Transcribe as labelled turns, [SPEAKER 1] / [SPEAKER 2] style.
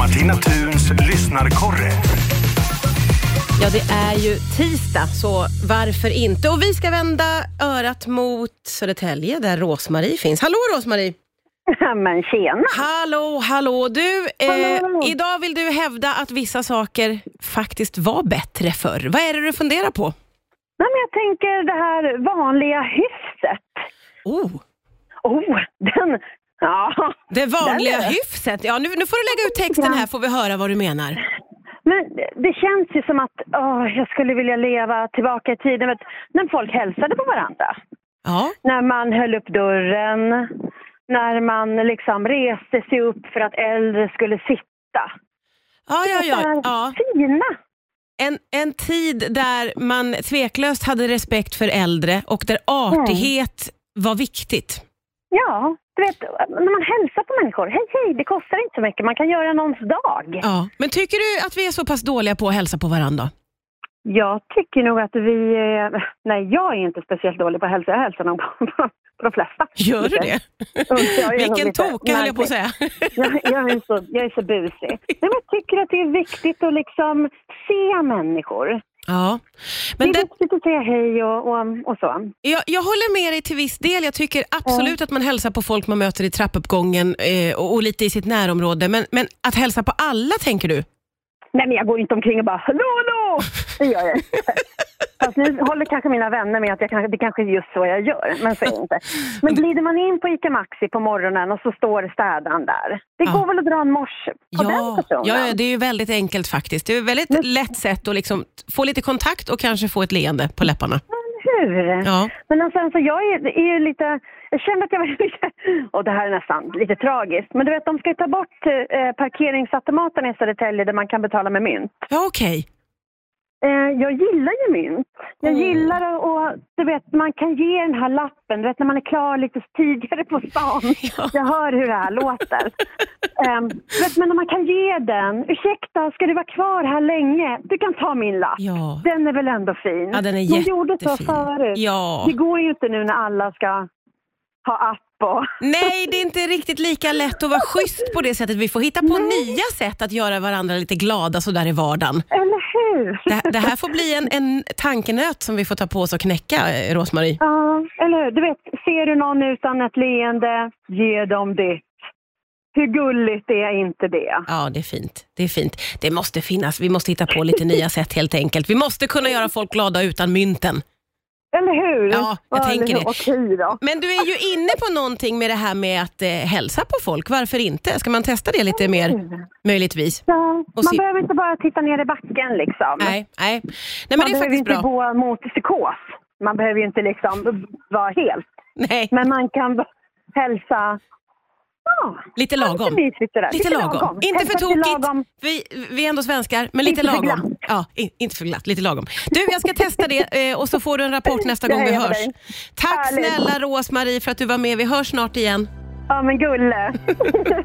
[SPEAKER 1] Martina Thuns lyssnarkorre.
[SPEAKER 2] Ja, det är ju tisdag, så varför inte? Och vi ska vända örat mot Södertälje, där Rosmarie finns. Hallå Rosmarie!
[SPEAKER 3] Ja, Men tjena!
[SPEAKER 2] Hallå, hallå! Du, eh,
[SPEAKER 3] Hallå.
[SPEAKER 2] idag vill du hävda att vissa saker faktiskt var bättre förr. Vad är det du funderar på?
[SPEAKER 3] Nej, men jag tänker det här vanliga hyfset.
[SPEAKER 2] Oh,
[SPEAKER 3] Oh, den... Ja,
[SPEAKER 2] det vanliga
[SPEAKER 3] Där är det.
[SPEAKER 2] hyfset. Ja, nu, nu får du lägga ut texten här, får vi höra vad du menar.
[SPEAKER 3] men det känns ju som att åh, jag skulle vilja leva tillbaka i tiden. Vet, när folk hälsade på varandra.
[SPEAKER 2] Ja,
[SPEAKER 3] När man höll upp dörren. När man liksom reste sig upp för att äldre skulle sitta.
[SPEAKER 2] ja, ja. ja,
[SPEAKER 3] Det
[SPEAKER 2] ja.
[SPEAKER 3] här Fina!
[SPEAKER 2] En, en tid där man tveklöst hade respekt för äldre och där artighet var viktigt.
[SPEAKER 3] Ja, du vet, när man hälsar på människor. Hej, hej, det kostar inte så mycket. Man kan göra någons dag.
[SPEAKER 2] Ja. Men tycker du att vi är så pass dåliga på att hälsa på varandra?
[SPEAKER 3] Jag tycker nog att vi... eh, Nej, jag är inte speciellt dålig på att hälsa. Jag hälsar nog på, på, på de flesta.
[SPEAKER 2] Gör du det?
[SPEAKER 3] Jag är nog
[SPEAKER 2] Vilken
[SPEAKER 3] lite
[SPEAKER 2] toka höll jag på att
[SPEAKER 3] märklig.
[SPEAKER 2] säga.
[SPEAKER 3] Jag, jag, är så, jag är så busig. Nej, men jag tycker att det är viktigt att liksom se människor.
[SPEAKER 2] Ja.
[SPEAKER 3] Men
[SPEAKER 2] Men
[SPEAKER 3] det är
[SPEAKER 2] det,
[SPEAKER 3] viktigt att säga hej och, och, och så.
[SPEAKER 2] jag, jag håller med dig till viss del. Jag tycker absolut att man hälsar på folk man möter i trappuppgången eh, och, och lite i sitt närområde. Men, men att hälsa på alla, tänker du?
[SPEAKER 3] Nej, men jag går inte omkring och bara hallå, hallå! Det gör jag inte. Fast nu håller kanske mina vänner med att jag kanske, det kanske är just så jag gör, men så är det inte. Men glider man in på ICA Maxi på morgonen och så står städaren där. Det
[SPEAKER 2] Ja.
[SPEAKER 3] går väl att dra en mors på den
[SPEAKER 2] Ja,
[SPEAKER 3] personen?
[SPEAKER 2] ja, ja, det är ju väldigt enkelt faktiskt. Det är ett väldigt lätt sätt att liksom få lite kontakt och kanske få ett leende på läpparna.
[SPEAKER 3] Hur?
[SPEAKER 2] Ja.
[SPEAKER 3] Men alltså, alltså, jag är, är ju lite... Jag känner att jag var lite... Och det här är nästan lite tragiskt. Men du vet, de ska ju ta bort eh, parkeringsautomaterna i Södertälje där man kan betala med mynt.
[SPEAKER 2] Ja, okej.
[SPEAKER 3] Eh, jag gillar ju mynt. Jag
[SPEAKER 2] Mm.
[SPEAKER 3] gillar att- och du vet, man kan ge den här lappen. Du vet, när man är klar lite tidigare på stan. Jag hör hur det här låter. Ehm, du vet, men om man kan ge den. Ursäkta, ska du vara kvar här länge? Du kan ta min lapp.
[SPEAKER 2] Ja.
[SPEAKER 3] Den är väl ändå fin?
[SPEAKER 2] ja, den är
[SPEAKER 3] De gjorde så
[SPEAKER 2] jättefin.
[SPEAKER 3] förut.
[SPEAKER 2] Ja.
[SPEAKER 3] Det går ju inte nu när alla ska ha app och...
[SPEAKER 2] Nej, det är inte riktigt lika lätt att vara schysst på det sättet. Vi får hitta på nya sätt att göra varandra lite glada sådär i vardagen.
[SPEAKER 3] Eller hur?
[SPEAKER 2] Mm. Det, det här får bli en, en tankenöt som vi får ta på oss och knäcka, eh, Rosmarie.
[SPEAKER 3] Ja, eller hur? Du vet, ser du någon utan ett leende, ge dem ditt. Hur gulligt är inte det?
[SPEAKER 2] Ja, det är fint. Det är fint. Det måste finnas. Vi måste hitta på lite nya sätt helt enkelt. Vi måste kunna göra folk glada utan mynten.
[SPEAKER 3] Eller hur?
[SPEAKER 2] Ja, jag
[SPEAKER 3] eller
[SPEAKER 2] tänker
[SPEAKER 3] hur?
[SPEAKER 2] det.
[SPEAKER 3] Okej då.
[SPEAKER 2] Men du är ju inne på någonting med det här med att eh, hälsa på folk. Varför inte? Ska man testa det lite mer, möjligtvis?
[SPEAKER 3] Ja, man
[SPEAKER 2] se-
[SPEAKER 3] behöver inte bara titta ner i backen liksom.
[SPEAKER 2] Nej, nej. Nej,
[SPEAKER 3] man
[SPEAKER 2] men det är
[SPEAKER 3] behöver
[SPEAKER 2] faktiskt
[SPEAKER 3] inte
[SPEAKER 2] bra.
[SPEAKER 3] gå mot psykos. Man behöver ju inte liksom vara helt.
[SPEAKER 2] Nej,
[SPEAKER 3] Men man kan b- hälsa... Ja,
[SPEAKER 2] lite
[SPEAKER 3] ja,
[SPEAKER 2] lagom.
[SPEAKER 3] lite mysigt det där.
[SPEAKER 2] Lite lagom. Inte för
[SPEAKER 3] Hälsa till
[SPEAKER 2] tokigt.
[SPEAKER 3] lagom.
[SPEAKER 2] Vi, vi är ändå svenskar, men lite
[SPEAKER 3] Inte för
[SPEAKER 2] lagom.
[SPEAKER 3] glatt.
[SPEAKER 2] Ja, i- inte för glatt, lite lagom. Du, jag ska testa det eh, och så får du en rapport nästa
[SPEAKER 3] Jag
[SPEAKER 2] gång vi
[SPEAKER 3] hejar på
[SPEAKER 2] hörs.
[SPEAKER 3] dig.
[SPEAKER 2] Tack
[SPEAKER 3] Härligt.
[SPEAKER 2] snälla Rosmarie för att du var med. Vi hörs snart igen.
[SPEAKER 3] Ja, men gulle.